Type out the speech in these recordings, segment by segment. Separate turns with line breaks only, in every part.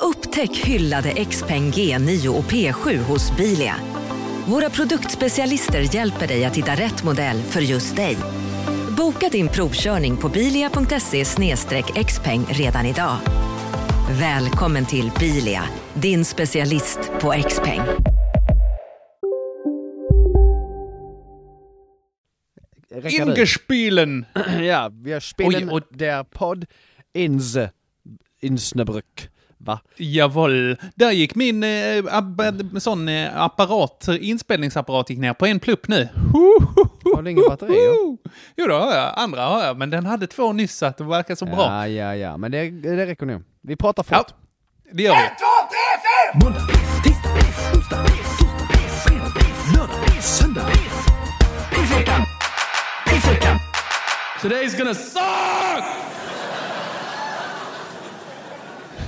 Upptäck hyllade XPeng G9 och P7 hos Bilia. Våra produktspecialister hjälper dig att hitta rätt modell för just dig. Boka din provkörning på bilia.se xpeng redan idag. Välkommen till Bilia, din specialist på XPeng.
Rekker det?
Ingespielen!
ja, wir spielen
Ui, und-
der Pod ins, Insnebrück. Va?
Jawohl. Där gick min eh, ab- sån eh, apparat, inspelningsapparat gick ner på en plupp nu.
Har du ingen batterier?
Woo! Jo, det har jag. Andra har jag, men den hade två nyss så att det verkar så bra.
Ja, ja, ja. Men det, det räcker nu. Vi pratar
Ja,
fort.
det gör vi.
Måndag, tisdag, onsdag, torsdag, fredag, lördag, söndag.
Today's gonna suck!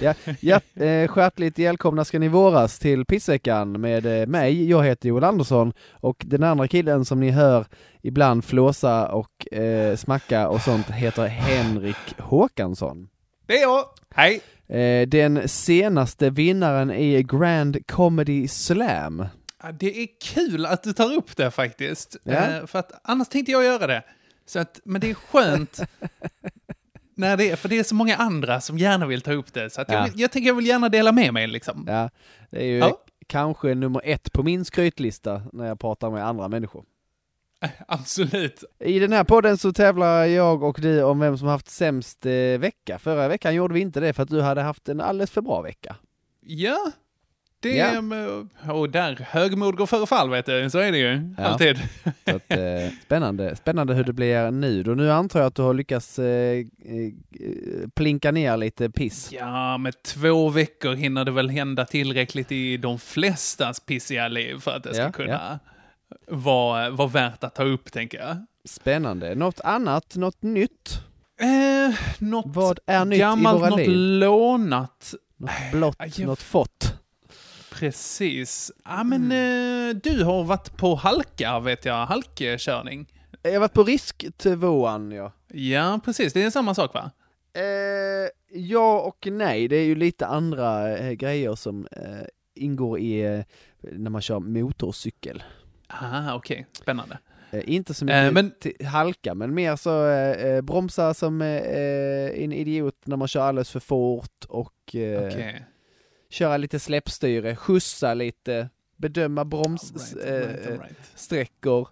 Ja, ja, eh, skärtligt välkomna ska ni våras till pissveckan med eh, mig, jag heter Joel Andersson och den andra killen som ni hör ibland flåsa och eh, smacka och sånt heter Henrik Håkansson.
Det är jag. Hej.
Eh, den senaste vinnaren i Grand Comedy Slam.
Ja, Det är kul att du tar upp det faktiskt.
Ja.
Eh, För att annars tänkte jag göra det. Så att, men det är skönt. när det är, för det är så många andra som gärna vill ta upp det. Så att jag,
Ja.
vill, jag tänker jag vill gärna dela med mig liksom.
Ja, det är ju
Ja.
kanske nummer ett på min skrytlista när jag pratar med andra människor.
Absolut.
I den här podden så tävlar jag och du om vem som haft sämst eh, vecka. Förra veckan gjorde vi inte det för att du hade haft en alldeles för bra vecka.
Ja. Det
Ja.
är, och där, högmod går före fall vet du, så är det ju.
Ja.
Alltid.
Så att, eh, spännande. spännande hur det blir nu. Och nu antar jag att du har lyckats eh, eh, plinka ner lite piss.
Ja, med två veckor hinner det väl hända tillräckligt i de flestas pissiga liv för att det ska
Ja,
kunna vara, vara värt att ta upp, tänker jag.
Spännande. Något annat, något nytt?
Eh, något
Vad är nytt
gammalt,
i våra
något
liv?
lånat.
Något blått,
Aj, jag-
något fått.
Precis. Ja, men
Mm.
eh, du har varit på halka, vet jag. Halkkörning.
Jag har varit på risktvåan, ja.
Ja, precis. Det är samma sak, va?
Eh, ja och nej, det är ju lite andra eh, grejer som eh, ingår i eh, när man kör motorcykel.
Ah, okej. Spännande.
Eh, inte så
Eh,
mycket
men-
till halka, men mer så eh, eh, bromsa som eh, eh, en idiot när man kör alldeles för fort och eh,
Okej.
köra lite släppstyre, skjutsa lite, bedöma bromssträckor.
All right, all right, all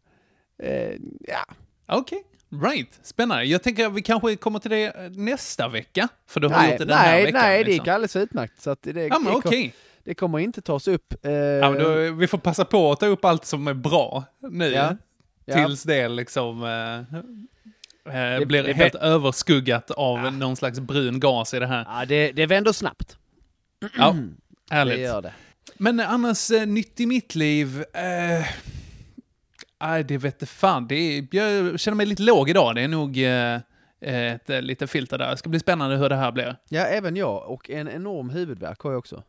right.
eh, ja,
Okej, right. Spännande. Jag tänker att vi kanske kommer till det eh, nästa vecka. För du har
nej,
gjort det den här
nej,
veckan.
nej, det gick
liksom.
alldeles utmärkt. Så att det,
Ja, men
det, kom,
okej.
det kommer inte tas upp. Eh,
Ja, men då, vi får passa på att ta upp allt som är bra nu.
Ja. ja.
Tills det liksom eh, eh,
Det-
blir
det-
helt överskuggat av någon slags brun gas i det här.
Ja, det, det vänder snabbt.
Ja,
Det
härligt.
gör det.
Men eh, annars, eh, nytt i mitt liv? Eh, aj, det vet fan. Det är, jag känner mig lite låg idag. Det är nog eh, ett eh, lite filter där. Det ska bli spännande hur det här blir.
Ja, även jag. Och en enorm huvudvärk har jag också.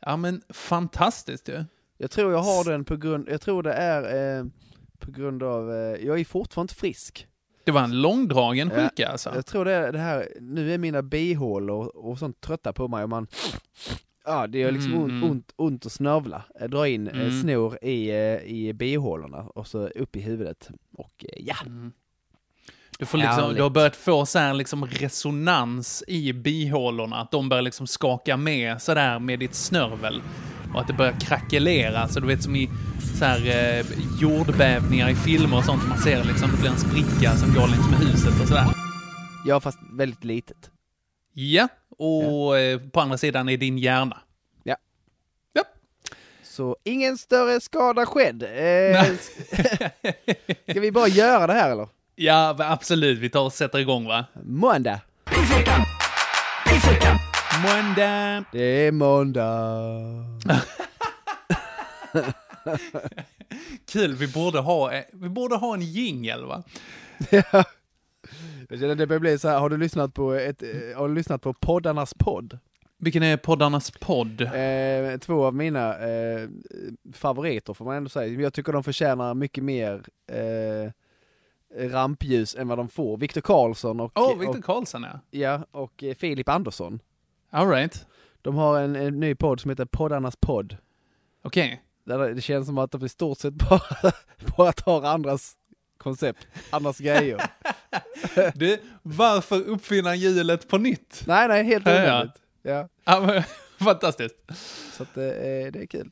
Ja, men fantastiskt ju.
Jag tror jag har den på grund, jag tror det är eh, på grund av, eh, jag är fortfarande inte frisk.
Det var en långdragen
Ja,
sjuka alltså.
Jag tror det är det här, nu är mina bihålor och sånt trötta på mig och man, ja det gör liksom
Mm,
ont,
mm.
ont, ont att snövla. Eh, Dra in eh,
Mm.
snor i, eh, i bihålorna och så upp i huvudet. Och eh, ja,
Du, får liksom,
Härligt.
du har börjat få så här liksom resonans i bihålorna, att de börjar liksom skaka med sådär med ditt snörvel. Och att det börjar krackelera, så du vet som i så här, eh, jordbävningar i filmer och sånt. Man ser liksom, det blir en spricka som går längs med huset och sådär.
ja fast väldigt litet.
Ja, och eh, på andra sidan är din hjärna.
Ja.
Ja.
Så ingen större skada skedd. Eh, ska vi bara göra det här eller?
Ja, va- absolut. Vi tar och sätter igång va?
Måndag!
Måndag!
Det är måndag.
Kul, vi borde ha, eh, vi borde ha en jingel va?
Jag känner att det börjar bli så här, har du lyssnat på, ett, eh, har du lyssnat på poddarnas podd?
Vilken är poddarnas podd?
Eh, två av mina eh, favoriter får man ändå säga. Jag tycker de förtjänar mycket mer eh, rampljus än vad de får. Viktor Karlsson och,
Åh, oh, Victor
och,
Karlsson ja.
ja, och eh, Filip Andersson.
All right.
De har en, en ny podd som heter Poddarnas podd.
Okej.
Där det- det känns som att de i stort sett bara, bara tar andras koncept, andras grejer.
Du, varför uppfinna hjulet på nytt?
nej, nej, helt
Ja, ja.
onödigt. Ja,
Ja, men, fantastiskt.
så att, eh, det är kul.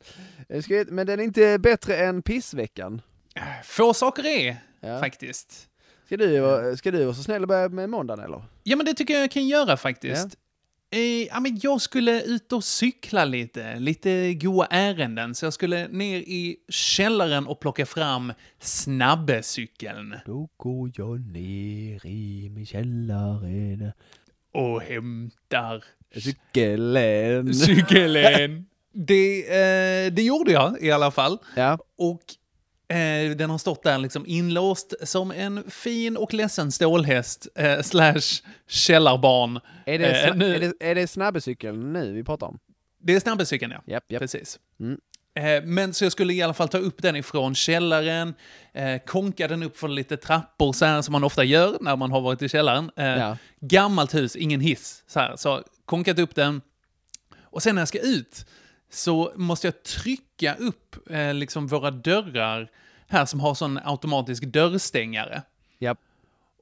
Eh, ska jag- Men den är inte bättre än pissveckan.
Få saker är,
Ja.
faktiskt.
Ska du, vara- ska du vara så snäll och börja med måndagen eller?
Ja, men det tycker jag jag kan göra faktiskt. Eh, ja, men jag skulle ut och cykla lite, lite goa ärenden. Så jag skulle ner i källaren och plocka fram snabbecykeln.
Då går jag ner i min källare
Och hämtar
Cykeln.
cykeln. det, eh, det gjorde jag i alla fall.
Ja,
Och eh, den har stått där liksom inlåst som en fin och ledsen stålhäst eh, slash källarbarn.
är det,
Eh,
sna-
nu-
är det, är det snabbecykeln nu vi pratar om?
Det är snabbcykeln, ja.
Japp, japp.
Precis.
Mm.
Eh, Men så jag skulle i alla fall ta upp den ifrån källaren, eh, konka den upp för lite trappor så här som man ofta gör när man har varit i källaren. Eh,
Ja.
Gammalt hus, ingen hiss. Så, här. så konkat upp den. Och sen när jag ska ut så måste jag trycka upp eh, liksom våra dörrar här som har sån automatisk dörrstängare.
Ja.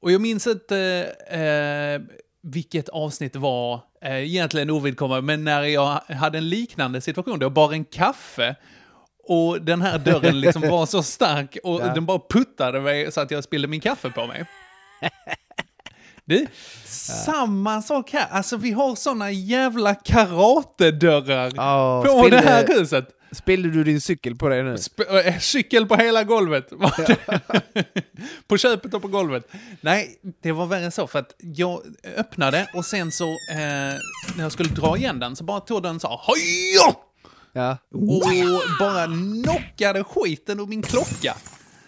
Och jag minns inte eh, vilket avsnitt det var, eh, egentligen ovidkommande, men när jag hade en liknande situation då jag bar en kaffe och den här dörren liksom var så stark och
Ja.
den bara puttade mig så att jag spillde min kaffe på mig. Du, samma sak här. Alltså vi har såna jävla karatedörrar
Ja,
på
spillde-
det här huset.
Spillde du din cykel på dig nu?
Sp- äh, cykel på hela golvet. var det. på köpet och på golvet. Nej, det var värre än så. För att jag öppnade och sen så, eh, när jag skulle dra igen den, så bara tog den så här, "Hojo!"
Ja.
och bara knockade skiten ur min klocka.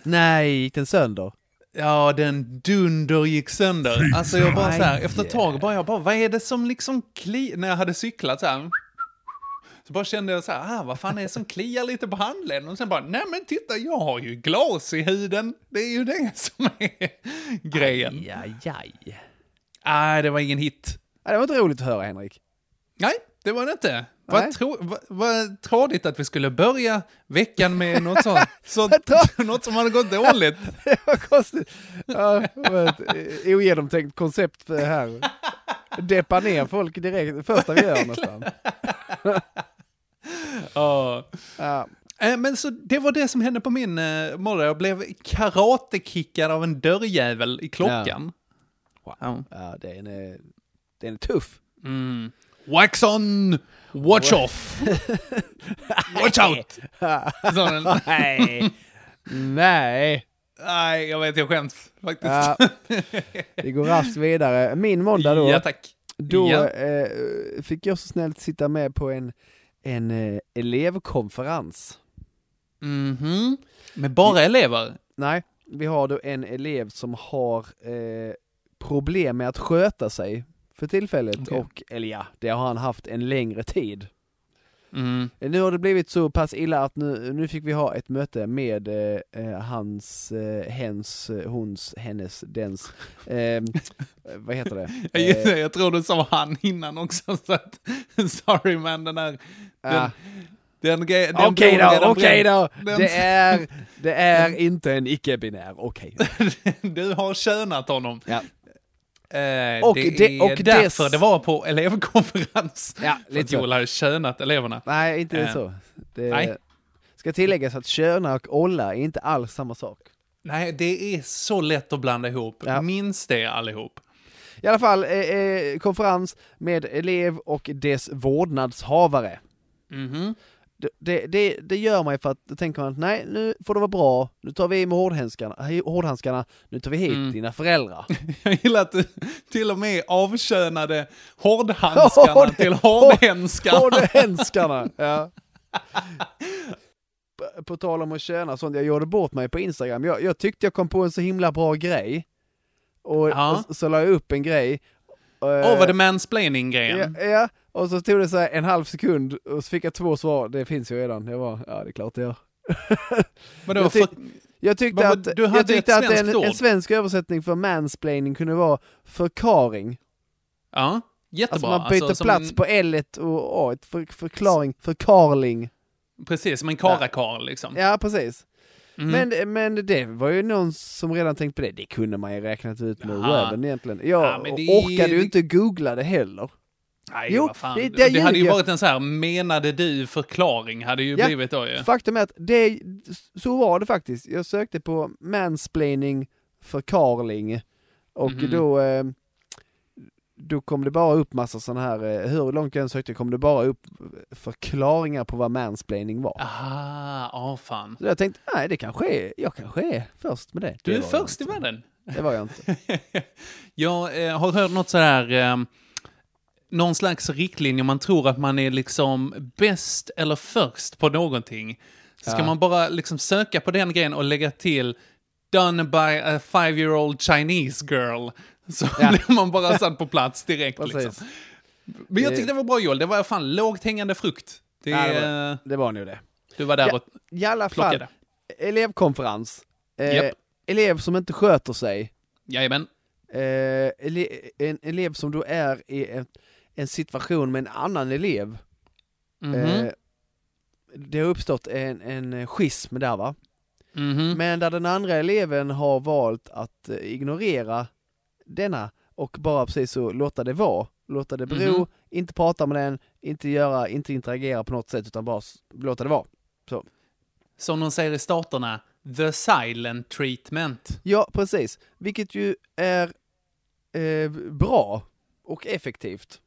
Nej, gick den sönder?
Ja, den dunder gick sönder. Alltså jag bara så här, efter ett tag bara jag bara, vad är det som liksom kli... När jag hade cyklat så här. Så bara kände jag så här, ah, vad fan är det som kliar lite på handleden? Och sen bara, nej men titta, jag har ju glas i huden. Det är ju det som är grejen. Nej,
Ja, jaj.
det var ingen hit.
Ja, det var inte roligt att höra Henrik.
Nej, det var det inte.
Nej.
Vad tro- vad- vad tråkigt att vi skulle börja veckan med något sånt. Så,
tråkigt.
något som hade gått dåligt.
Det var konstigt. Ja, det var ett eh, ogenomtänkt koncept för det här. Deppa ner folk direkt, det första vi gör nästan.
Ja.
Ja.
Eh, Men så det var det som hände på min eh, morgon. Jag blev karatekickad av en dörrjävel i klockan. Wow.
Ja, det är en, eh, det är en tuff.
Mm. Wax on, watch off. Watch out! Sa den.
Nej. Nej.
Nej, jag vet, jag skäms faktiskt.
Ja. Vi går raskt vidare. Min måndag då,
Ja, tack.
då
Ja.
eh, fick jag så snällt sitta med på en, en eh, elevkonferens.
Mhm. Men bara
Mm.
elever?
Nej, vi har då en elev som har eh, problem med att sköta sig för tillfället
Okej.
och, eller ja, det har han haft en längre tid.
Mm.
Eh, Nu har det blivit så pass illa att nu, nu fick vi ha ett möte med eh, eh, hans, eh, hens, eh, hons, hennes, dens, eh, vad heter det? Eh,
Jag, gissar- jag tror du sa han innan också, så att, sorry man, den där...
Ah.
Den, den, gre- den
Okej
bron
då,
redan
okej då!
bränd. Den-
Det är, det är inte en icke-binär, okej.
Du har könat honom.
Ja.
Eh,
Och
det,
det-
är
och
därför
dess-
det var på elevkonferens.
Ja,
för att
lite så.
Joel hade könat eleverna.
Nej, inte
Eh,
så. Det
nej.
ska tilläggas att köna och olla är inte alls samma sak.
Nej, det är så lätt att blanda ihop.
Ja.
Minns det allihop.
I alla fall, eh, eh, konferens med elev och dess vårdnadshavare.
Mhm.
det- det, det, det gör mig för att då tänker man att nej, nu får det vara bra, nu tar vi i med hårdhandskarna, hårdhandskarna nu tar vi hit
Mm.
dina föräldrar.
Jag gillar att du till och med avkönade hårdhandskarna
Hård-
till hårdhandskarna.
Hårdhandskarna! ja. På- På tal om att tjäna sånt, jag gjorde bort mig på Instagram. Jag, jag tyckte jag kom på en så himla bra grej. Och,
Ja.
och så la jag upp en grej. Åh,
Åh, var det mansplaining-grejen?
Ja, ja, och så tog det så här en halv sekund och så fick jag två svar. Det finns ju redan. Jag var, ja det är klart det gör.
Vadå,
Jag tyck-
för-
Jag tyckte
Men
att,
vad- du hade
jag tyckte
ett
att en,
svenskt ord.
en svensk översättning för mansplaining kunde vara förklaring.
Ja, jättebra.
Alltså man byter
Alltså, som
plats
en,
på l och a för, förklaring, förkarling.
Mm. Precis, som en karakarl liksom.
Ja, precis.
Mm.
Men, men det var ju någon som redan tänkt på det. Det kunde man ju räknat ut med
Ja.
webben egentligen. Jag
Ja, men det-
orkade ju
det-
inte googla det heller.
Nej,
Jo,
vad fan.
det-
Det,
det
hade ju
ljuger.
varit en så här, menade du förklaring, hade ju
Ja.
blivit då ju.
Faktum är att det, så var det faktiskt. Jag sökte på mansplaining för Carling och
Mhm.
då, eh, då kom det bara upp massa sådana här, eh, hur långt jag än sökte kom det bara upp förklaringar på vad mansplaining var.
Ah. Aha, ja fan.
Så jag tänkte, nej det kanske är, jag kanske är först med det.
Du
det
är
var jag
först i världen.
inte. Det var jag inte.
Jag eh, har hört något så här... Eh, någon slags riktlinje om man tror att man är liksom bäst eller först på någonting. Så ska
Ja.
man bara liksom söka på den grejen och lägga till done by a five year old Chinese girl. Så blir man bara satt på plats direkt. liksom.
Precis.
Men jag
Det-
tyckte det var bra Joel, det var fan lågt hängande frukt. Det,
Ja, det var
eh,
Det var nog det.
Du var där
Ja.
och
I alla fall,
plockade.
elevkonferens. Eh,
Japp.
Elev som inte sköter sig.
Jajamän.
Eh, ele- en elev som då är i en, en situation med en annan elev.
Mhm.
Eh, det har uppstått en, en schism där va.
Mhm.
Men där den andra eleven har valt att eh, ignorera denna och bara precis så låta det vara. Låta det bero,
Mhm.
inte prata med den, inte göra, inte interagera på något sätt utan bara s- låta det vara.
Som de säger i staterna, the silent treatment.
Ja, precis. Vilket ju är eh, bra och effektivt.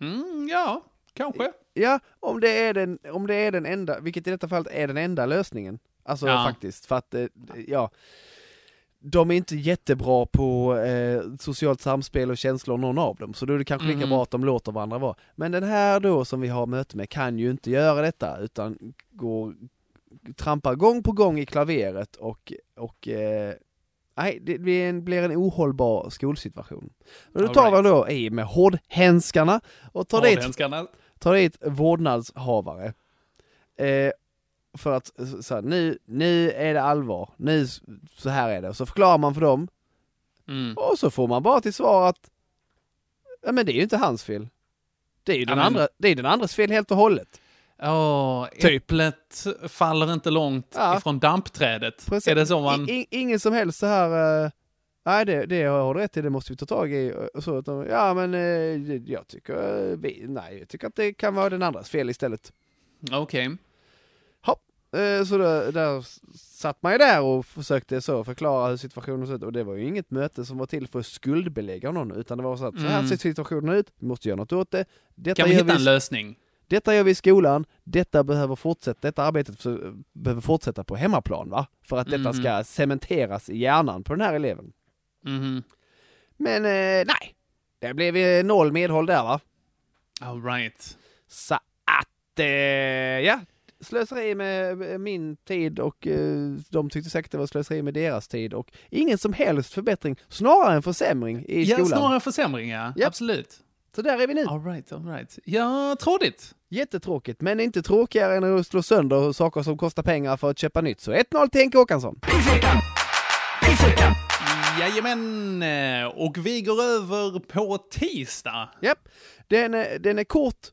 Mm, ja, kanske.
Ja, om det, är den, om det är den enda, vilket i detta fallet är den enda lösningen. Alltså
Ja.
faktiskt, för att eh, ja, de är inte jättebra på eh, socialt samspel och känslor någon av dem, så då är det kanske lika
Mm.
bra att de låter varandra vara. Men den här då som vi har möte med kan ju inte göra detta, utan går, trampar gång på gång i klaveret och, och eh, nej, det blir en, blir en ohållbar skolsituation. Och då
All
tar
right.
man då i med hårdhandskarna och tar dit
Hårdhandskarna.
tar dit vårdnadshavare. Eh, för att eh, så- så här, nu, nu är det allvar, nu s- så här är det. Så förklarar man för dem
Mm.
och så får man bara till svar att ja, men det är ju inte hans fel. Det är ju den,
Ja, men-
andra, det är den andras fel helt och hållet.
Åh, äpplet faller inte långt
Typ. Ja.
ifrån dampträdet. Är det så man...
I, i, ingen som helst så här eh, Nej, det, det har du rätt i, det måste vi ta tag i. Och så, att de, ja, men eh, jag tycker, eh, vi, nej, jag tycker att det kan vara den andras fel istället.
Okej.
Eh, Så där, där satt man ju där och försökte så förklara hur situationen såg ut och det var ju inget möte som var till för att skuldbelägga någon utan det var så att så här
Mm.
ser situationen ut, vi måste göra något åt det. Detta,
Kan vi
gör
hitta
vi,
en lösning?
detta gör vi i skolan, detta behöver fortsätta, detta arbetet för- behöver fortsätta på hemmaplan va? För att detta
Mm.
ska cementeras i hjärnan på den här eleven.
Mhm.
Men eh, nej, det blev eh, noll medhåll där va?
All right.
Så att, eh, ja. Slöseri med eh, min tid och eh, de tyckte säkert det var slöseri med deras tid och ingen som helst förbättring, snarare en försämring i
Ja,
skolan.
snarare försämringar.
Japp.
Absolut.
Så där är vi nu.
All right, all right. Ja, tråkigt.
Jättetråkigt, men inte tråkigare än att slå sönder saker som kostar pengar för att köpa nytt. Så 1-0 till Henke Håkansson.
Jajamän! Och vi går över på tisdag.
Japp. Den, är- den är kort,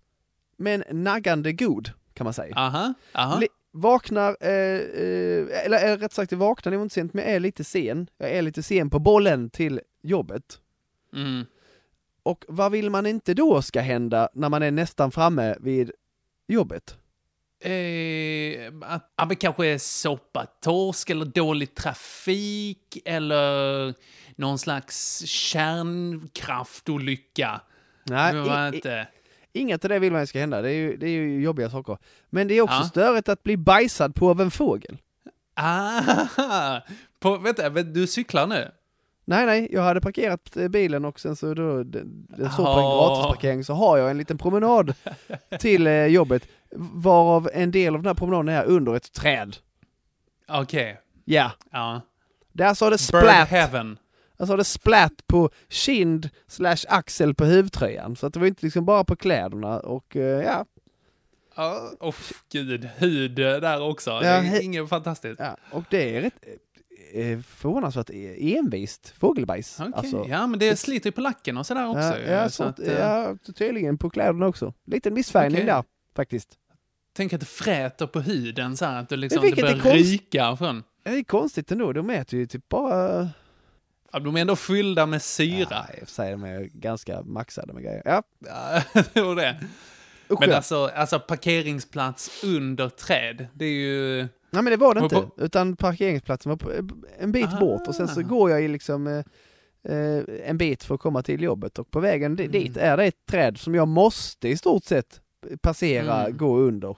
men naggande god, kan man säga.
Aha, aha.
Li- vaknar, eh, eh, eller eh, rätt sagt jag vaknar det var inte sent, men jag är lite sen. Jag är lite sen på bollen till jobbet.
Mm.
Och vad vill man inte då ska hända när man är nästan framme vid jobbet?
Eh, att, ja, men kanske soppatorsk eller dålig trafik eller någon slags kärnkraftolycka.
Nej,
Det var
Ah, i, i,
inte.
Inget av det vill man ju ska hända, det är ju, det är ju jobbiga saker. Men det är också
Ja.
störigt att bli bajsad på av en fågel.
Ah, på, vänta, men du cyklar nu?
Nej nej, jag hade parkerat eh, bilen och sen så då, den, den står på en
Ja.
gratisparkering, så har jag en liten promenad till eh, jobbet, varav en del av den här promenaden är under ett träd.
Okej.
Ja,
Ja.
där sa det
Bird
splatt,
heaven.
där sa Alltså, det splatt på kind slash axel på huvtröjan. Så att det var inte liksom bara på kläderna och eh, ja,
Ja, Åh gud, hud där också. det
Ja,
är
he-
inget fantastiskt.
ja. och det är rätt eh, förvånansvärt e-, envist fågelbajs.
Okej,
Alltså,
ja men det sliter ju på lacken och sådär också. ju.
ja, ja,
så
sånt,
att, eh,
ja, tydligen på kläderna också. Liten missfärgning
Okej.
där faktiskt.
Tänk att det fräter på huden så här, att du liksom, det
vilket är
börjar
konst-
ryka från.
Ja, Det är konstigt ändå, de äter ju typ bara...
Ja, de är ändå fyllda med syra.
Ja, i och för sig, de är ganska maxade med grejer. Ja,
Ja. det var det.
usch
Men
ja.
alltså, alltså parkeringsplats under träd, det är ju...
Nej men det var det
Och
inte, utan parkeringsplatsen var på, en bit
Ah.
bort och sen så går jag i liksom eh, eh, en bit för att komma till jobbet och på vägen di- dit är det ett träd som jag måste i stort sett passera,
Mm.
gå under.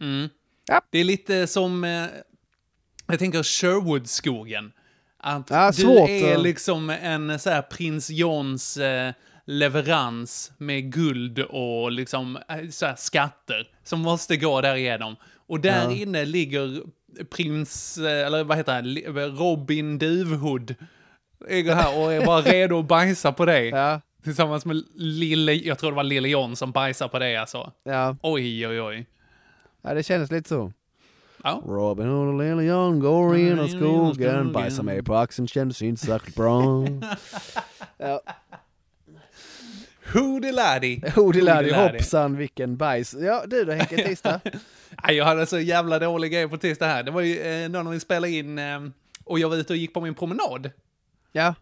Mm.
Ja.
Det är lite som, eh, jag tänker Sherwoodskogen. Att
Ja,
du
svårt
är
att-
liksom en så här prins Johns eh, leverans med guld och liksom eh, så här skatter som måste gå därigenom. Och där
Ja.
inne ligger prins, eh, eller vad heter han, Li- Robin Duvhood. Ligger här och är bara redo att bajsa på dig.
Ja,
Tillsammans med lille, jag tror det var lille John som bajsar på dig alltså.
ja,
Oj, oj, oj.
ja det kändes lite så.
Ja.
Robin Hood och Lille John går in i
in i skogen.
skogen, bajsar mig på axeln, kändes inte särskilt bra. ja.
Hoodie-laddy.
Hodiladi, hoppsan vilken bajs. Ja du då Henke, tisdag?
Nej, jag hade så jävla dålig grej på tisdag här. Det var ju eh, någon när vi spelade in eh, och jag var ute och gick på min promenad.
ja.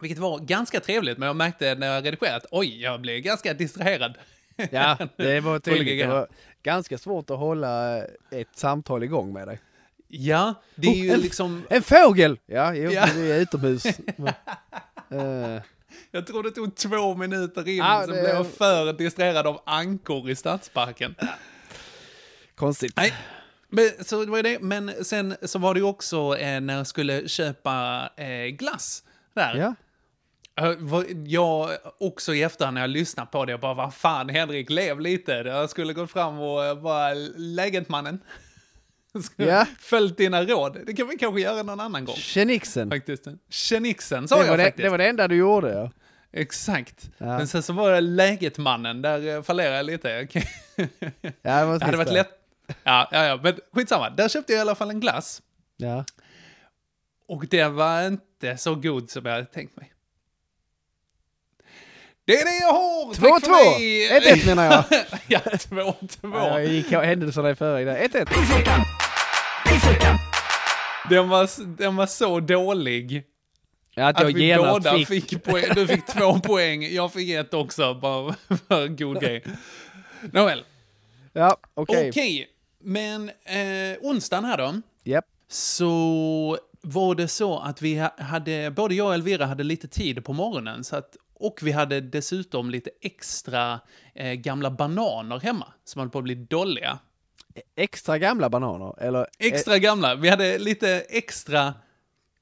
Vilket var ganska trevligt, men jag märkte när jag redigerade att oj, jag blev ganska distraherad.
ja, det var tydligt.
Olika
Det var ganska svårt att hålla eh, ett samtal igång med dig.
Ja, det är ju
Oh, en-
liksom...
En fågel! Ja, jo,
Ja.
men det är utomhus. Eh,
Jag tror det tog två minuter in,
Ja,
så
det-
blev jag för distraherad av ankor i stadsparken.
konstigt.
Nej, men, så det var ju det. Men sen så var det ju också eh, när jag skulle köpa eh, glass där.
Ja.
Eh, vad- Jag också i efterhand när jag lyssnar på det, jag bara vad fan Henrik, lev lite. Jag skulle gått fram och eh, bara läget mannen. Skulle
Ja.
Följt dina råd. Det kan vi kanske göra någon annan gång.
Tjenixen. Det,
Faktiskt. Tjenixen sa
var
jag
det,
faktiskt.
det var det enda du gjorde ja.
Exakt.
Ja.
Men sen så var det läget mannen, där eh, fallerade jag lite. Jag kan-
ja det, var
Det hade varit lätt. Ja, ja, ja, men skitsamma. Där köpte jag i alla fall en glass.
Ja.
Och det var inte så god som jag hade tänkt mig. Det är det jag har!
Två,
Tack för
två.
mig!
Ett, ett, menar jag.
ja, två, två.
Jag gick händelserna i förväg där. 1-1.
Den, var, den var så dålig
Ja,
att vi båda fick, poäng. Du fick två poäng, jag fick ett också, bara för god grej. Nåväl,
Ja, okej.
okej. Men eh, onsdagen här då,
Japp.
så var det så att vi ha- hade, både jag och Elvira hade lite tid på morgonen. Så att, och vi hade dessutom lite extra eh, gamla bananer hemma som höll på att bli dolliga.
Extra gamla bananer, eller?
Extra gamla. Vi hade lite extra,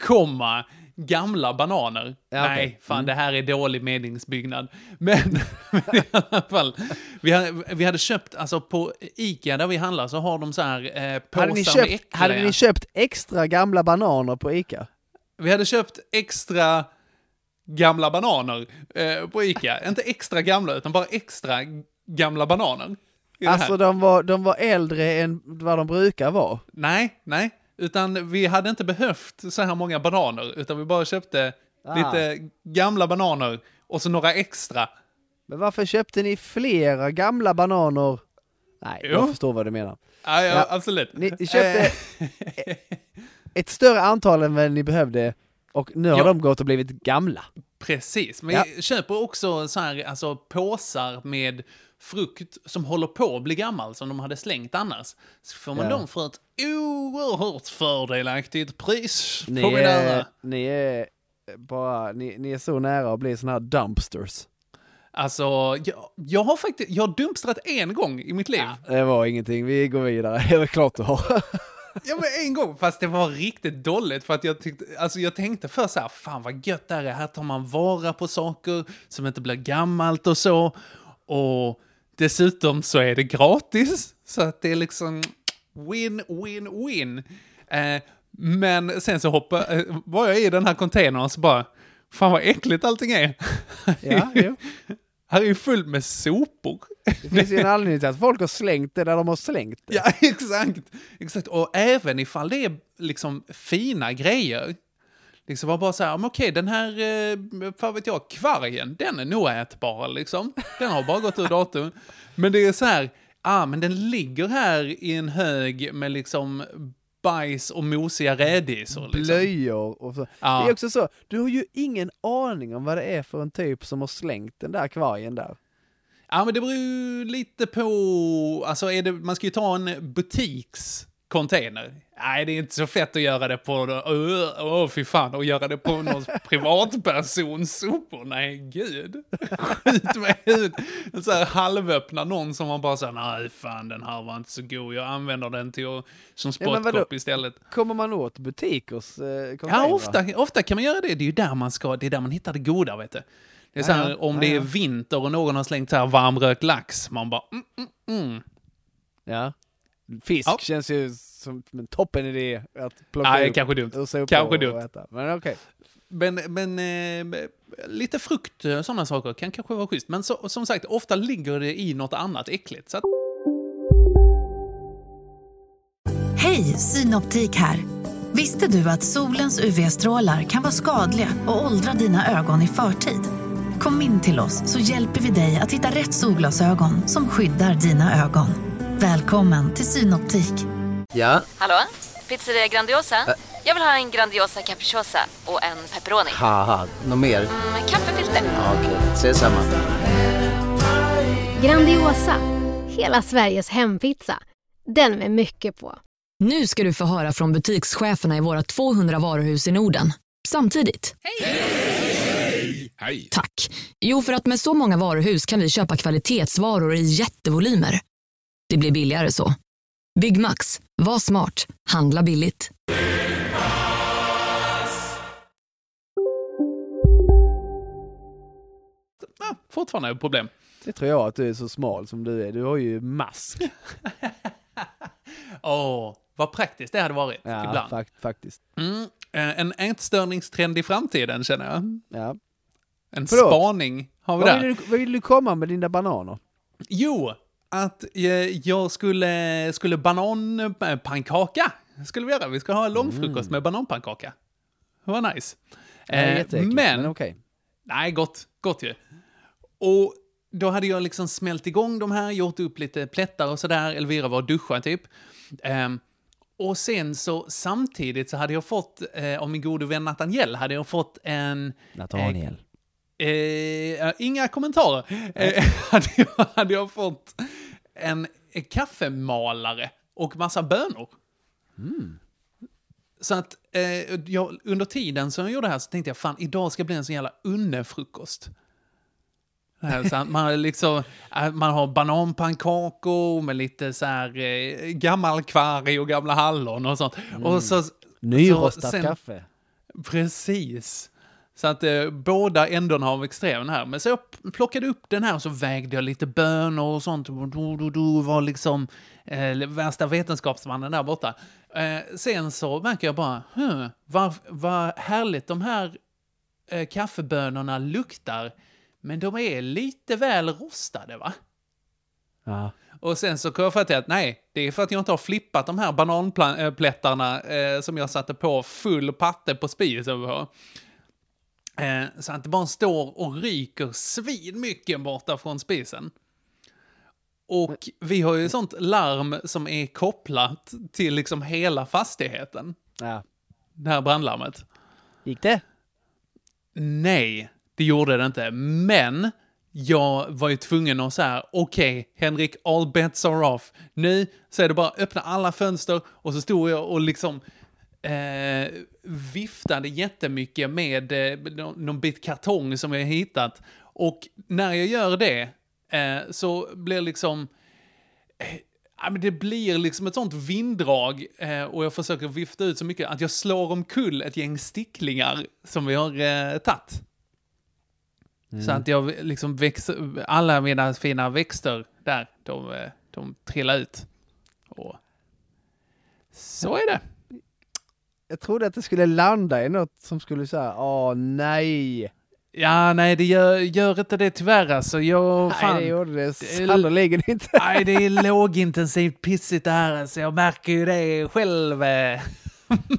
komma, gamla bananer.
Ja, okej. Mm.
Nej, fan det här är dålig meningsbyggnad. Men, men i alla fall, vi hade, vi hade köpt, alltså på Ica där vi handlar så har de så här eh, påsar
Hade ni,
med
köpt,
äckliga-
hade ni köpt extra gamla bananer på Ica?
Vi hade köpt extra gamla bananer eh, på Ica. Inte extra gamla, utan bara extra gamla bananer. i det här.
Alltså de var, de var äldre än vad de brukar vara.
Nej, nej. Utan vi hade inte behövt så här många bananer, utan vi bara köpte
Ah.
lite gamla bananer och så några extra.
Men varför köpte ni flera gamla bananer? Nej,
Jo. Eh.
jag förstår vad du menar.
Ja, ja,
Ja.
absolut.
Ni ni köpte ett större antal än vad ni behövde och nu har
Ja.
de gått och blivit gamla.
Precis, men
Ja.
vi köper också så här, alltså, påsar med frukt som håller på att bli gammal, som de hade slängt annars. Så får man
Ja.
dem för ett oerhört fördelaktigt pris.
Ni
på min ära.
är, ni är bara, ni, ni är så nära att bli såna här dumpsters.
Alltså, jag, jag har faktiskt, jag har dumpstrat en gång i mitt liv.
Det var ingenting, vi går vidare. Det är klart du har.
Ja, men en gång. Fast det var riktigt dåligt. För att jag, tyckte, alltså jag tänkte först så här, fan vad gött det här är. Här tar man vara på saker som inte blir gammalt och så. Och dessutom så är det gratis. Så att det är liksom win, win, win. Eh, men sen så hoppa, eh, var jag i den här containern och så bara, fan vad äckligt allting är.
Ja, jo.
Här är ju fullt med sopor.
Det finns ju en anledning till att folk har slängt det där de har slängt det.
Ja, exakt. exakt. Och även ifall det är liksom fina grejer. Liksom var bara så här, men okej, den här, eh, fan vet jag, kvargen, den är nog ätbar liksom. Den har bara gått ur datum. Men det är så här, ah, men den ligger här i en hög med liksom bajs och mosiga rädisor. Liksom.
Blöjor och så.
Ja.
Det är också så, du har ju ingen aning om vad det är för en typ som har slängt den där kvargen där.
Ja, men det beror ju lite på... Alltså, är det, man ska ju ta en butikscontainer. Nej, det är inte så fett att göra det på... Åh, åh, fy fan, att göra det på någon privatpersons sopor. Nej, gud. Skit med ut. En så här halvöppna någon som man bara säger nej, fan, den här var inte så god. Jag använder den till att, som
Ja, men vadå?
spottkopp istället.
Kommer man åt butikers eh,
Ja,
containrar?
ofta, ofta kan man göra det. Det är ju där man ska, det är där man hittar det goda, vet du. Det är så
Ja,
här,
ja.
om
Ja,
det är
ja.
vinter och någon har slängt så här varmrökt lax, man bara mm, mm, mm.
Ja. Fisk
Ja.
känns ju som en toppen idé att plocka
Nej,
upp
kanske dumt.
ur sopor
Kanske
och
dumt.
äta. Men okej.
Men, men eh, lite frukt, eh, sådana saker, kan kanske vara schysst. Men så, som sagt, ofta ligger det i något annat äckligt. Så att,
Hej, Synoptik här. Visste du att solens UV-strålar kan vara skadliga och åldra dina ögon i förtid? Kom in till oss så hjälper vi dig att hitta rätt solglasögon som skyddar dina ögon. Välkommen till Synoptik.
Ja,
Hallå? Pizzeria Grandiosa? Jag vill ha en Grandiosa capriciosa och en pepperoni.
haha, något mer?
Med kaffefilter.
Ja, Okej, ses samma.
Grandiosa, hela Sveriges hempizza. Den med mycket på.
Nu ska du få höra från butikscheferna i våra 200 varuhus i Norden. Samtidigt. Hej! Hej! Tack. Jo, för att med så många varuhus kan vi köpa kvalitetsvaror i jättevolymer. Det blir billigare så. Byggmax. Var smart. Handla billigt.
ah, fortfarande är det problem.
Det tror jag att du är så smal som du är. Du har ju mask.
Åh, vad praktiskt det hade varit ibland.
fak- faktiskt.
Mm, eh, en ätstörningstrend i framtiden, känner jag.
Ja.
En
Förlåt?
spaning har vi
Vad
där.
vill, du, vad vill du komma med dina bananer?
Jo, att eh, jag skulle, skulle bananpannkaka. Skulle vi göra. Vi ska ha en långfrukost med bananpannkaka. Det var nice.
Mm. Det är jätteäckligt,
Eh, men,
men okej.
nej, gott, gott ju. Och då hade jag liksom smält igång de här, gjort upp lite plättar och sådär. Elvira var och duschade typ. Ehm, och sen så samtidigt så hade jag fått, eh, av min gode vän Nathaniel, hade jag fått en...
Nathaniel.
Eh, eh, inga kommentarer. Eh, hade, jag, hade jag fått en kaffemalare och massa bönor. Så att eh, jag, under tiden som jag gjorde det här så tänkte jag fan idag ska bli en sån jävla unnefrukost. Det här, Så att man, liksom, eh, man har bananpannkakor med lite så här, eh, gammal kvarg och gamla hallon och sånt. Och så,
Nyrostat
så sen-
kaffe.
Precis. Så att eh, båda ändarna av extremen här. Men så jag plockade upp den här och så vägde jag lite bönor och sånt. Och du, du, du var liksom eh, värsta vetenskapsmannen där borta. Eh, sen så märker jag bara, hm, vad, vad härligt de här eh, kaffebönorna luktar. Men de är lite väl rostade va?
Ja.
Och sen så kom jag fram till att nej, det är för att jag inte har flippat de här bananplättarna eh, som jag satte på full patte på spisen på. Eh, så att det bara står och ryker svinmycket borta från spisen. Och vi har ju sånt larm som är kopplat till liksom hela fastigheten,
ja.
det här brandlarmet.
Gick det?
Nej, det gjorde det inte. Men jag var ju tvungen att säga, okej Henrik, all bets are off. Nu så är det bara att öppna alla fönster och så stod jag och liksom eh, viftade jättemycket med eh, nå- någon bit kartong som jag hittat Och när jag gör det eh, så blir liksom... eh, ja, men Det blir liksom ett sånt vinddrag eh, och jag försöker vifta ut så mycket att jag slår omkull ett gäng sticklingar som vi har eh, tagit. Så
Mm.
att jag liksom växer, alla mina fina växter där, de, eh, de trillar ut. Och så är det.
Jag trodde att det skulle landa i något som skulle säga, åh nej.
Ja, nej, det gör, gör inte det tyvärr alltså. Jag, fan.
Nej, det gjorde det
är-
sannerligen inte.
Nej, det är lågintensivt pissigt det här, så jag märker ju det själv. eh.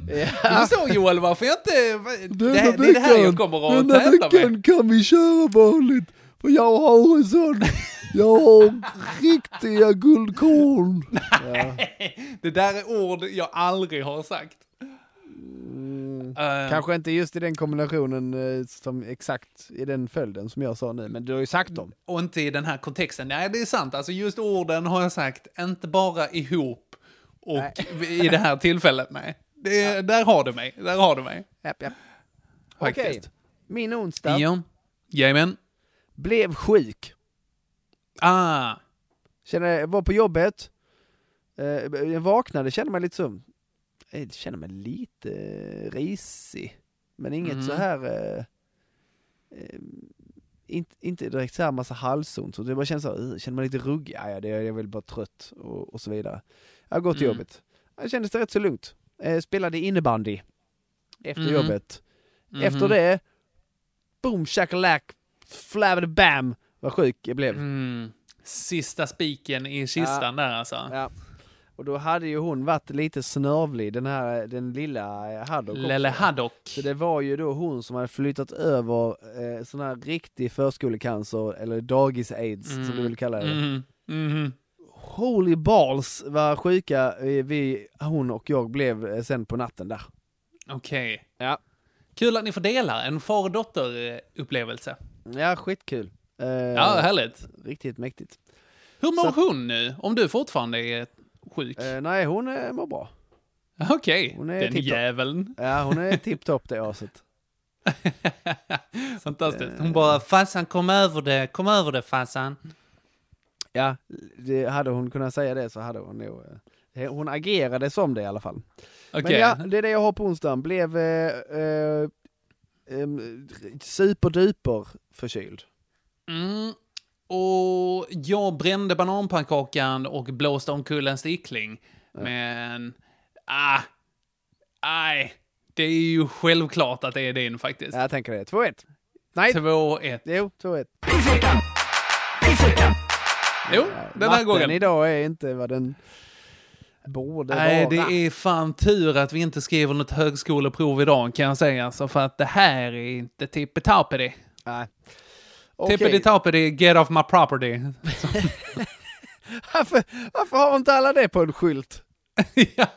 Du förstår Joel varför jag inte... Det, här- det är det här jag kommer att tävla med.
kan vi köra vanligt. För jag har en sån, jag har riktiga guldkorn.
Det där är ord jag aldrig har sagt. Eh,
Kanske inte just i den kombinationen eh, som exakt i den följden som jag sa nu, men du har ju sagt dem.
Och inte i den här kontexten. Nej, det är sant. Alltså just orden har jag sagt, inte bara ihop och i det här tillfället. Nej, det, där har du mig. Där har du mig.
Japp, japp. Okej,
Faktiskt.
min onsdag
Ja. Jajamän.
blev sjuk.
Ah,
Känner, jag var på jobbet, eh, jag vaknade, kände mig lite så, eh, kände mig lite eh, risig. Men inget
Mm.
så här, eh, eh, inte, inte direkt så här massa halsont, så det bara kändes så här, eh, kände mig lite ruggig, ja, ja, det- jag är väl bara trött och, och så vidare. Jag går till
Mm.
jobbet. Det kändes det rätt så lugnt. Eh, spelade innebandy efter
Mhm.
jobbet.
Mhm.
Efter det, boom shakalak, flabbade bam, vad sjuk jag blev.
mm. Sista spiken i kistan där alltså.
Ja. Och då hade ju hon varit lite snörvlig, den här, den lilla eh, Haddock också.
Lelle Haddock.
Så det var ju då hon som hade flyttat över eh, sån här riktig förskolecancer, eller dagis-aids som du vill kalla det.
Mhm. Mhm.
Holy balls vad sjuka eh, vi, hon och jag blev eh, sen på natten där.
Okej.
Ja.
Kul att ni får dela en far och dotter-upplevelse.
Ja, skitkul. Eh,
Ja, härligt.
Riktigt mäktigt.
Hur mår
så
hon nu? Om du fortfarande är sjuk?
Eh, nej, hon eh, mår bra.
Okej,
Eh, hon är
den
tipptopp.
jäveln.
Ja, hon är tipptopp det aset.
Fantastiskt.
eh,
Hon bara, farsan kom över det, kom över det farsan.
Ja, det, hade hon kunnat säga det så hade hon nog... eh, Hon agerade som det i alla fall.
Okej.
Men ja, det är det jag har på onsdagen. Blev eh, eh, em, superduper förkyld.
Mm. Och jag brände bananpannkakan och blåste omkull en stickling. Men, ah, nej. Det är ju självklart att det är din faktiskt.
Jag tänker det. 2-1. Nej,
2-1.
jo, 2-1.
Jo, den här
Matten
gången.
idag är inte vad den borde
Nej, det
vara.
är fan tur att vi inte skriver något högskoleprov idag kan jag säga. Så för att det här är inte tippetappedi.
Nej.
Okay.
Okej.
Tippetappedi, get off my property.
Varför, varför har inte alla det på en skylt?
ja.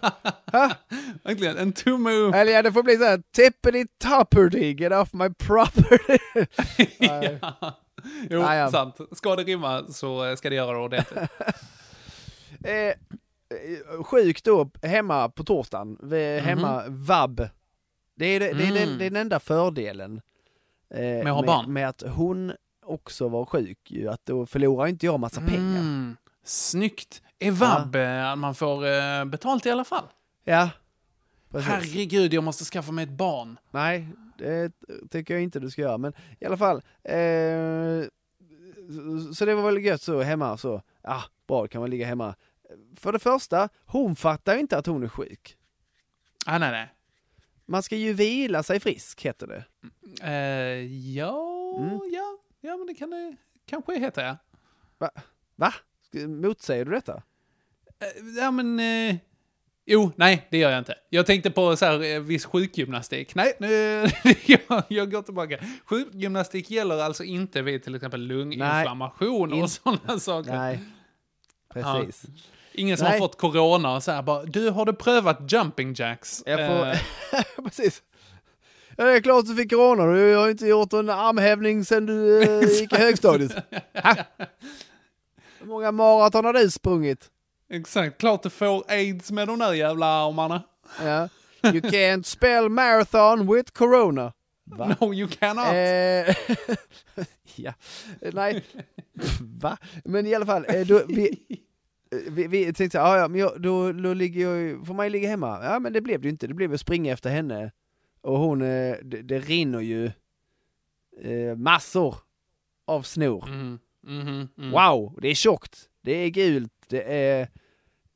Verkligen, en tumme upp.
Eller ja, det får bli så här tippity topperty, get off my property.
ja. Jo,
Nej, ja.
sant. Ska det rimma så eh, ska det göra det ordentligt.
eh, eh, sjuk då, hemma på torsdagen, Vi-
Mhm.
hemma vab. Det är, det, det, är den, det är den enda fördelen. eh,
Mm. att ha
med,
barn.
med att hon också var sjuk ju, att då förlorar inte jag massa pengar.
Mm. Snyggt. Evab, eh, att man får eh, betalt i alla fall.
Ja, precis.
Herregud, jag måste skaffa mig ett barn.
Nej, det tycker jag inte du ska göra, men i alla fall. Eh, så, så det var väl gött så hemma så. Ah, bra, kan man ligga hemma. För det första, hon fattar inte att hon är sjuk.
Ah, nej, nej.
Man ska ju vila sig frisk, heter det.
Eh, ja,
Mm.
ja, ja, men det kan det kanske heta, ja.
Va? Va? Sk- Motsäger du detta?
Eh, ja, men... Eh, jo, nej, det gör jag inte. Jag tänkte på så här, eh, viss sjukgymnastik. Nej, nu, jag, jag går tillbaka. Sjukgymnastik gäller alltså inte vid till exempel lunginflammation
In-
och sådana saker.
Nej. Precis.
Ingen som
Nej.
har fått corona och så här bara, du, har du prövat jumping jacks?
Jag får...
Eh,
Precis. Ja, det är klart du fick corona. Du har ju inte gjort en armhävning sen du eh, gick i högstadiet. Ha? Hur många maraton har du sprungit?
exakt, klart du får aids med de där jävla armarna.
Ja. You can't spell marathon with corona. Va?
No, you cannot!
Eh, ja, Eh, nej, Pff, va? Men i alla fall, eh, då, vi, eh, vi, vi tänkte såhär, "Ah, ja, men jag, då, då ligger jag, ju- får man ju ligga hemma. Ja men det blev det ju inte, det blev att springa efter henne. Och hon, eh, det, det rinner ju eh, massor av snor.
Mm, mhm, mm.
Wow, det är tjockt, det är gult, det är...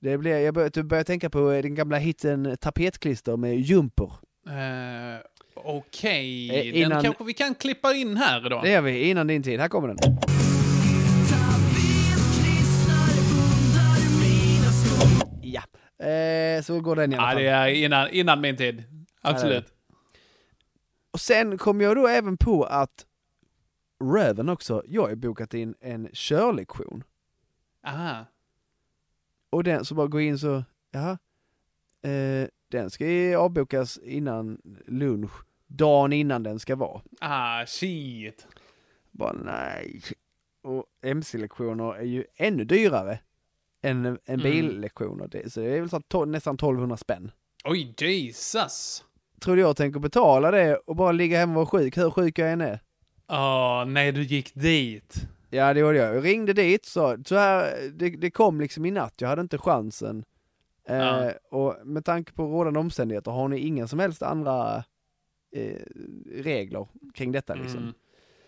Det blir, jag börjar börjar tänka på eh, den gamla hitten Tapetklister med jumper.
Eh, Okej,
Eh, innan-
den kanske vi kan klippa in här då.
Det gör vi innan din tid, här kommer den. Ja, eh, så går den i alla
Ja,
fall.
det är innan, innan min tid. Absolut.
Och sen kom jag då även på att röven också, jag har ju bokat in en körlektion.
Aha.
Och den som bara går in så, jaha, eh, den ska ju avbokas innan lunch, dagen innan den ska vara.
Ah, shit.
Bara nej. Och MC-lektioner är ju ännu dyrare än, än billektioner. Det- Så det är väl så att to- nästan 1200 spänn.
Oj, Jesus.
Tror du jag tänker betala det och bara ligga hemma och vara sjuk, hur sjuk jag än är?
Åh, nej, du gick dit.
Ja, det gjorde jag. Jag ringde dit, sa så här, det, det kom liksom i natt, jag hade inte chansen. Eh,
Ja.
Och med tanke på rådande omständigheter har ni inga som helst andra eh, regler kring detta liksom.
Mm.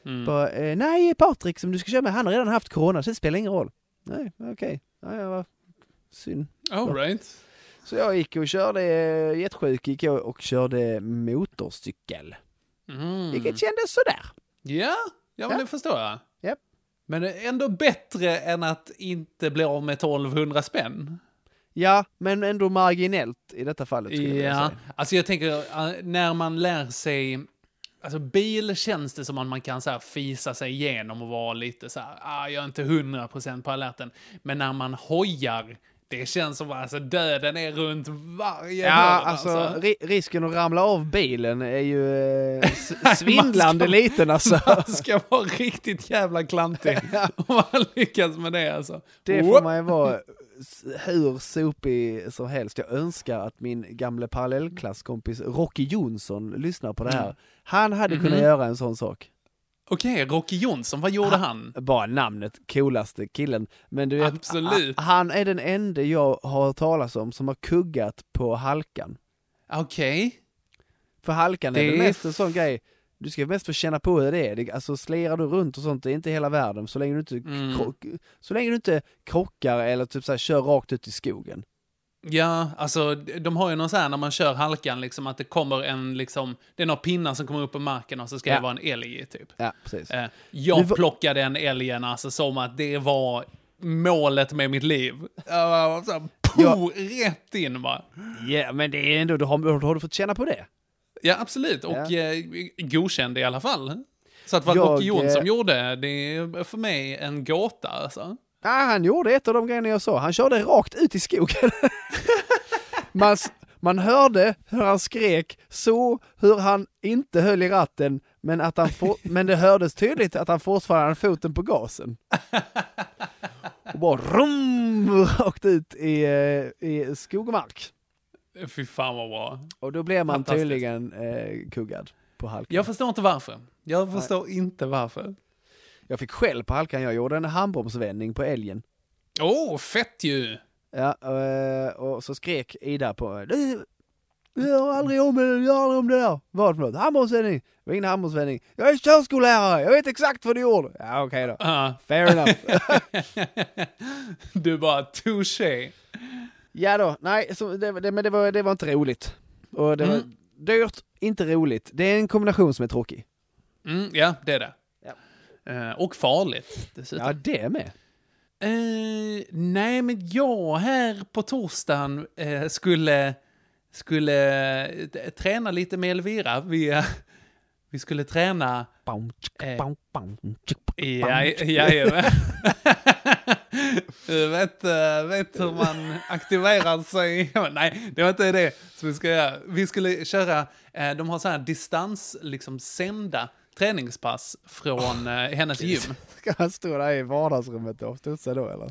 Mm.
Bara, eh, nej, Patrik som du ska köra med, han har redan haft corona, så det spelar ingen roll. Nej, okej. Ja, ja, vad synd.
All right.
Så jag gick och körde, eh, jättesjuk gick jag och körde motorcykel.
Mm.
Vilket kändes sådär.
Ja, ja men det förstår jag.
Japp.
Men det är ändå bättre än att inte bli av med 1200 spänn.
Ja, men ändå marginellt i detta fallet skulle jag
Ja,
säga.
alltså jag tänker eh, när man lär sig... Alltså bil känns det som att man kan så här fisa sig igenom och vara lite så här, ah, jag är inte 100% på alerten. Men när man hojar, det känns som att alltså, döden är runt varje
Ja,
hörn,
alltså, ri- risken att ramla av bilen är ju eh, s- svindlande liten alltså.
Man ska vara riktigt jävla klantig om man lyckas med det alltså.
Det får
Whoop.
man ju vara s- hur sopig som helst. Jag önskar att min gamle parallellklasskompis Rocky Jonsson lyssnar på det
Mm.
här. Han hade kunnat göra en sån sak.
Okej, Rocky Jonsson, vad Mm-hmm.
Ah.
gjorde han?
Bara namnet, coolaste killen. Men du vet,
Absolut.
a- han är den enda jag har hört talas om som har kuggat på halkan.
Okej.
För halkan är
Det
väl
är
mest en sån grej, du ska mest få känna på hur det är. Det- Alltså slirar du runt och sånt, det är inte hela världen. Så länge du inte,
Mm.
krock, så länge du inte krockar eller typ så här, kör rakt ut i skogen.
Ja, alltså de har ju någon så här när man kör halkan, liksom att det kommer en, liksom, det är några pinnar som kommer upp på marken och så ska
Ja.
det vara en älg typ.
Ja, precis.
Eh,
Nu
Jag
var-
plockade den älgen alltså som att det var målet med mitt liv. Jag var så här, po, rätt in bara.
Ja, men det är ändå, du har, har du fått känna på det?
Ja, absolut. Och
Ja.
eh, godkänd i alla fall. Så att vad
Jag,
Rocky Jonsson
eh,
gjorde, det är för mig en gåta alltså.
Nej, han gjorde ett av de grejerna jag sa. Han körde rakt ut i skogen. man, s- man hörde hur han skrek, så hur han inte höll i ratten, men, att han for, men det hördes tydligt att han fortfarande hade foten på gasen. Och bara rum, rakt ut i, eh, i skog och mark.
Fy fan vad bra.
Och då blev man
Fantastiskt.
tydligen eh, kuggad på halkan.
Jag förstår inte varför. Jag förstår inte varför.
Jag fick skäll på halkan, jag gjorde en handbromsvändning på älgen.
Åh, oh, fett ju!
Ja, eh, och så skrek Ida på "Du, Gör aldrig om det, gör aldrig om det där. Vad för något? Handbollsvändning? Det var ingen handbollsvändning. Jag är körskollärare, jag vet exakt vad du gjorde. Ja, okej då.
Ja.
Fair enough.
du bara, touché.
ja då, nej, så det, det, men det var, det var inte roligt. Och det var dyrt, inte roligt. Det är en kombination som är tråkig.
Mm, ja, det är det.
Ja.
Eh, och farligt, dessutom.
Ja, det med.
Eh, nej, men jag här på torsdagen eh, skulle, skulle eh, t- träna lite med Elvira. Vi, eh, vi skulle träna...
Bam, tsk,
Eh.
bam, bam, tsk,
Ja, ja, Du vet, eh, vet hur man aktiverar sig. Nej, det var inte det som vi ska göra. Vi skulle köra, eh, de har så här distans, liksom sända träningspass från eh, hennes gym.
Ska han stå där i vardagsrummet och studsa då eller?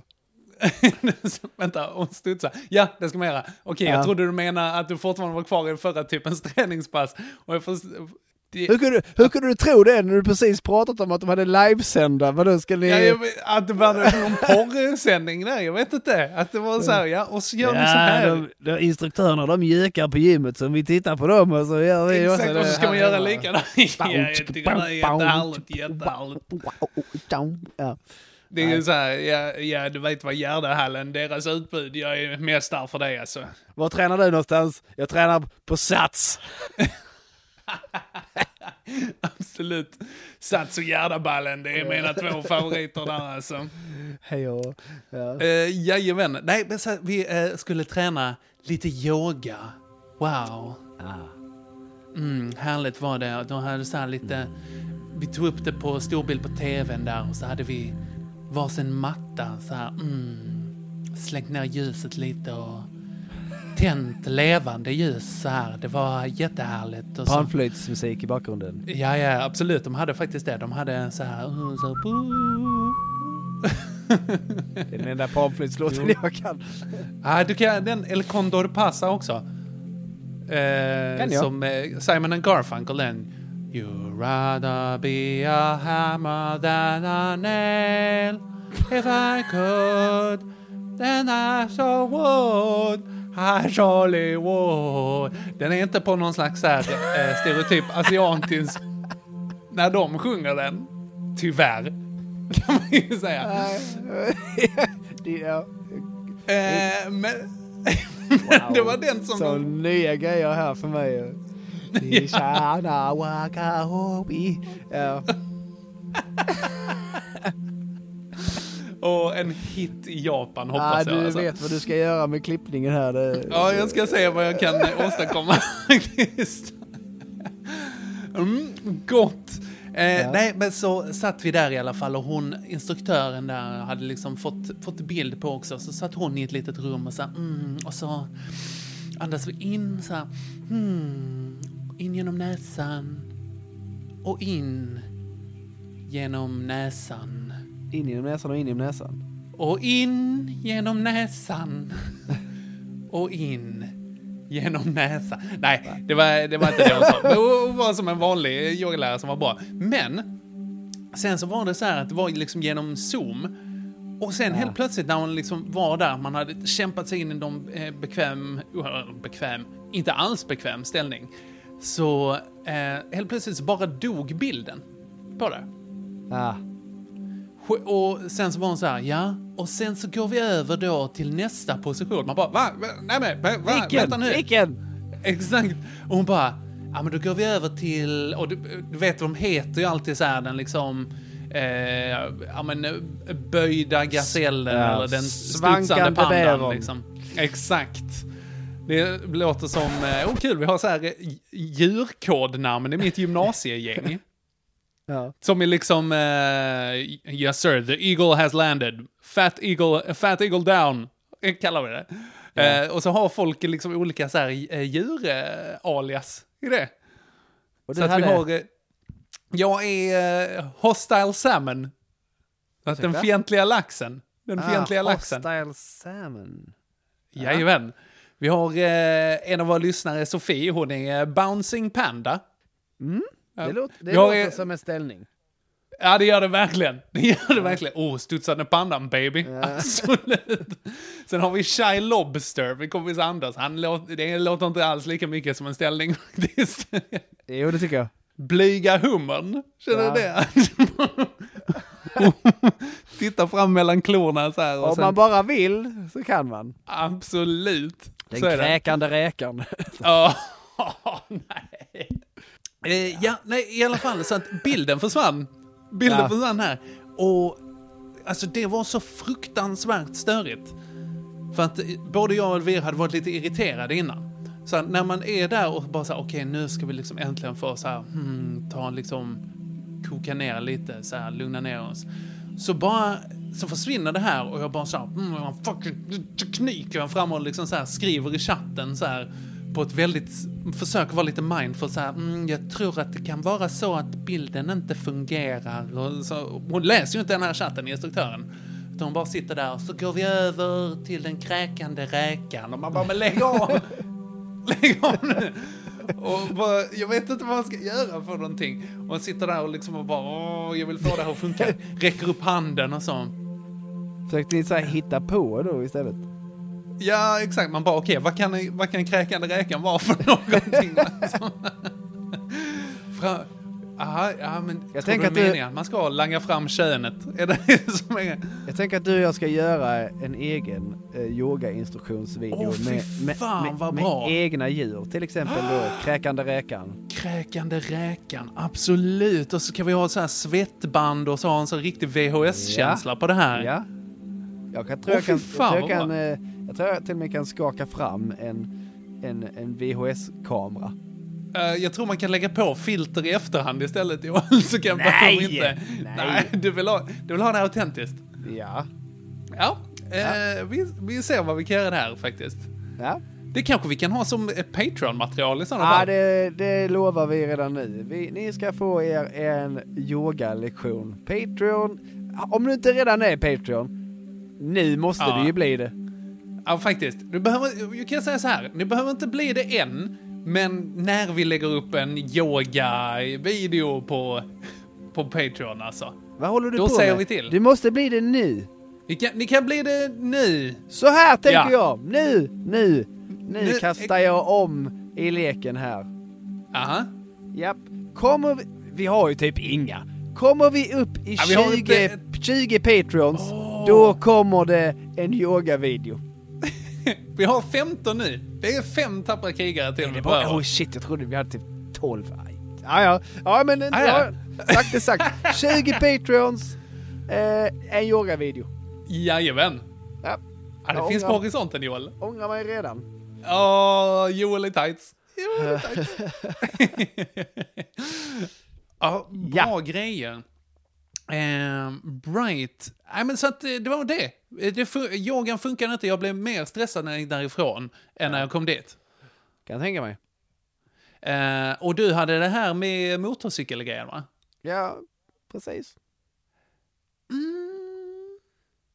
Vänta, hon studsar. Ja, det ska man göra. Okej,
Ja.
jag trodde du menade att du fortfarande var kvar i förra typens träningspass. Och jag först-
Hur kunde, hur kunde du tro det när du precis pratat om att de hade livesända? Vadå, ska ni...
Ja, jag vet, att det var någon porrsändning där, jag vet inte. Att det var så här, ja, och så gör ni så här.
de, de instruktörerna de gökar på gymmet så om vi tittar på dem och så gör vi
Exakt,
också
och så
det
ska man
här
göra
hemma.
likadant. Ja, jag tycker det är jättehärligt, jättehärligt.
Ja.
Det är ju så här, ja, ja, du vet vad Gärdahallen, deras utbud, jag är mest där för det alltså.
Var tränar du någonstans? Jag tränar på Sats.
Absolut. Sats och Gärdaballen, det är mina två favoriter där alltså.
Hej och... Ja.
Uh, jajamän. Nej, men så här, vi eh, skulle träna lite yoga. Wow. Mm, härligt var det. De hade så här lite... Vi tog upp det på storbild på tvn där och så hade vi varsin matta så här. Mm, slängt ner ljuset lite och tänt levande ljus så här. Det var jättehärligt. Och så,
Panflöjtsmusik i bakgrunden.
ja, ja, absolut. De hade faktiskt det. De hade så här... mm, Så här
Det är den enda panflöjtslåten jag kan.
Ah, du kan den El Condor Pasa också. Eh,
Kan jag?
som eh, Simon and Garfunkel den. You'd rather be a hammer than a nail If I could then I so would I surely would Den är inte på någon slags så här, eh, stereotyp asiatisk när de sjunger den. Tyvärr. Kan man ju säga.
Det är-
Eh, men men det var den som...
Så
de-
nya grejer här för mig. Nishana wakahobi. Ja.
Och en hit i Japan
Ah,
hoppas
du
jag. Alltså.
vet vad du ska göra med klippningen här. Det...
Ja, jag ska se vad jag kan eh, åstadkomma faktiskt. Mm, gott. Eh, Nej, men så satt vi där i alla fall och hon, instruktören där, hade liksom fått, fått bild på också. Så satt hon i ett litet rum och så här, mm, och så andas vi in så här, mm, in genom näsan och in genom näsan.
In genom näsan och in genom näsan.
Och in genom näsan. Och in genom näsan. Nej, det var, det var inte det hon sa. Men Hon var som en vanlig yogalärare som var bra. Men sen så var det så här att det var liksom genom Zoom. Och sen helt plötsligt när hon liksom var där, man hade kämpat sig in i någon eh, bekväm, uh, bekväm, inte alls bekväm ställning. Så eh, helt plötsligt så bara dog bilden på det.
Ah.
Sk- Och sen så var hon så här, ja. Och sen så går vi över då till nästa position. Man bara, va? va? Nej men, va? va? Vänta nu.
Vilken?
Exakt. Och hon bara, ja men då går vi över till, och du, du vet de heter ju alltid så här den liksom, eh, ja men eh, böjda gazellen
Ja,
eller den
svankande
studsande pandan
bävern.
liksom. Exakt. Det låter som, eh, oh kul, vi har så här eh, djurkodnamn i mitt gymnasiegäng.
Ja.
Som är liksom, eh, yes sir, the eagle has landed. Fat eagle, fat eagle down, eh, kallar vi det. Eh, och så har folk liksom olika så här eh, djur-alias i det.
Och
Så
den
att vi
hade-
har, eh, jag är eh, hostile salmon. Så att den
Ursäkta? Ah,
fientliga laxen. Den fientliga laxen.
Hostile salmon.
Jajamän. Vi har eh, en av våra lyssnare, Sofie, hon är eh, bouncing panda.
Mm, Det låter, det
Jag
låter
är-
som en ställning.
Ja, det gör det verkligen. Det gör det verkligen. Oh, studsande pandan baby. Absolut. Sen har vi Shy Lobster, min kompis Anders. Han låter, det låter inte alls lika mycket som en ställning faktiskt.
Jo, det tycker jag.
Blyga hummern, känner du
Ja.
det? Titta fram mellan klorna så här. Och
Om
sen,
man bara vill så kan man.
Absolut.
Den
Så är det.
kräkande räkan.
Ja, nej. Eh, ja, nej, i alla fall så att bilden försvann. Bilden
Ja.
försvann här. Och alltså det var så fruktansvärt störigt. För att eh, både jag och Elvira hade varit lite irriterade innan. Så att när man är där och bara så här, okej nu ska vi liksom äntligen få så här, hmm, ta liksom, koka ner lite, så här, lugna ner oss. Så bara, så försvinner det här och jag bara så här, mm, jag har en fucking teknik. Jag fram och liksom så här skriver i chatten så här på ett väldigt, försöker vara lite mindful så här, mm, jag tror att det kan vara så att bilden inte fungerar. Och så, hon läser ju inte den här chatten, instruktören. Utan hon bara sitter där och så går vi över till den kräkande räkan och man bara, men lägg av! Lägg av nu! Och bara, jag vet inte vad man ska göra för någonting. Och han sitter där och liksom och bara, åh, jag vill få det här att funka. Räcker upp handen och så.
Försökte ni så här hitta på då istället?
Ja, exakt. Man bara, okej, vad, kan, vad kan kräkande räkan vara för någonting? liksom? Fra- Aha, ja, men
tänker
jag tänker
att
att
du-
meningen? Man ska langa fram könet. Är det det som är...
Jag tänker att du och jag ska göra en egen eh, yogainstruktionsvideo
Åh, fy
med, med,
fan,
med,
vad
med
bra.
egna djur. Till exempel då kräkande räkan.
Kräkande räkan, absolut. Och så kan vi ha så här svettband och så ha en sån riktig VHS-känsla på det här.
Ja. Jag kan, tror
Åh,
jag, kan,
fy
jag,
fan,
tror jag,
vad
kan eh, jag tror jag till och med kan skaka fram en, en, en VHS-kamera.
Eh, jag tror man kan lägga på filter i efterhand istället Johan. Så kan Nej! De inte.
Nej.
du, vill ha, du vill ha det här autentiskt.
Ja.
Ja, eh, Vi, vi ser vad vi kan göra här faktiskt.
Ja.
Det kanske vi kan ha som eh, Patreon-material i sådana
Ja,
fall.
det, det lovar vi redan nu. Vi, ni ska få er en yogalektion. Patreon. Om du inte redan är Patreon, nu måste
Ja.
du ju bli det.
Ja, faktiskt. Du behöver, jag kan säga så här, ni behöver inte bli det än, men när vi lägger upp en yoga-video på, på Patreon alltså.
Vad håller du
Då
på
säger
med?
vi till.
Du måste bli det nu.
Ni kan, ni kan bli det nu.
Så här tänker
Ja.
jag. Nu, nu, nu,
Nu-
kastar jag om i leken här.
Aha.
Japp. Kommer vi... Vi har ju typ inga. Kommer vi upp i
Ja, vi har
20,
inte-
20 Patreons, då kommer det en yogavideo.
Vi har 15 nu. Det är fem tappra krigare till och med på
Bara, oh
över.
shit, jag trodde vi hade typ 12. Aj. Ja, ja. ja men
Ah, ja.
ja, sagt är sagt. 20 Patreons, eh, en yogavideo.
Jajamän.
Ja.
Ja, det
Ja,
finns på
ja.
horisonten Joel.
Ångrar mig redan.
Åh, Joel i tights. Joel i tights. ja, bra
Ja.
grejer. Ehm, bright. Nej, men så att eh, det var det. Eh, det fun- yogan funkar inte. Jag blev mer stressad när jag gick därifrån än när jag kom dit.
Kan jag tänka mig.
Eh, och du hade det här med motorcykelgrejen va?
Ja, precis.
Mm.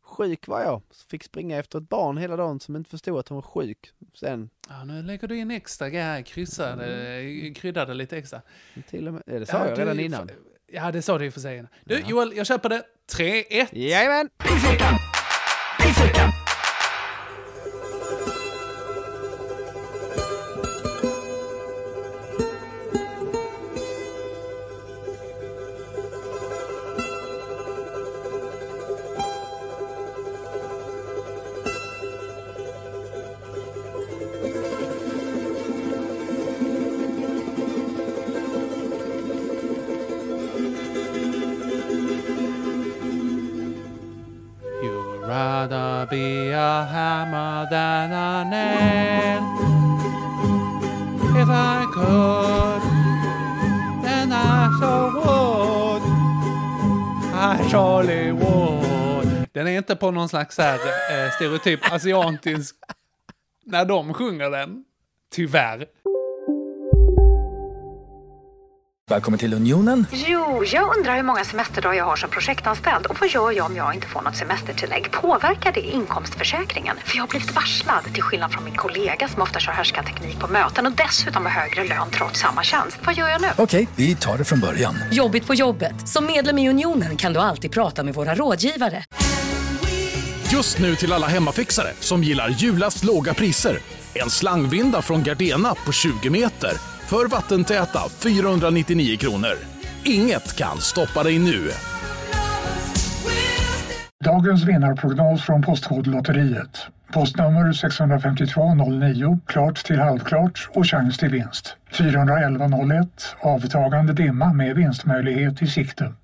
Sjuk var jag. Fick springa efter ett barn hela dagen som inte förstod att hon var sjuk. Sen
Ja, nu lägger du in extra grejer, här, kryssade, eh, kryddade lite extra.
till och med... eh, Det sa jag
du-
redan innan.
Ja, det sa du ju för sig innan. Du, Joel, jag köper det. 3-1.
Jajamän!
You'd rather be a hammer than a nail. If I could, then I so would. I surely would. Den är inte på någon slags här, eh, stereotyp asiatisk när de sjunger den. Tyvärr.
Välkommen till Unionen.
Jo, jag undrar hur många semesterdagar jag har som projektanställd och vad gör jag om jag inte får något semestertillägg? Påverkar det inkomstförsäkringen? För jag har blivit varslad, till skillnad från min kollega som ofta kör härskarteknik på möten och dessutom har högre lön trots samma tjänst. Vad gör jag nu?
Okej, vi tar det från början.
Jobbigt på jobbet. Som medlem i Unionen kan du alltid prata med våra rådgivare.
Just nu till alla hemmafixare som gillar Julas låga priser. En slangvinda från Gardena på 20 meter för vattentäta 499 kronor. Inget kan stoppa dig nu.
Dagens vinnarprognos från Postkodlotteriet. Postnummer 65209, klart till halvklart och chans till vinst. 41101, avtagande dimma med vinstmöjlighet i sikte.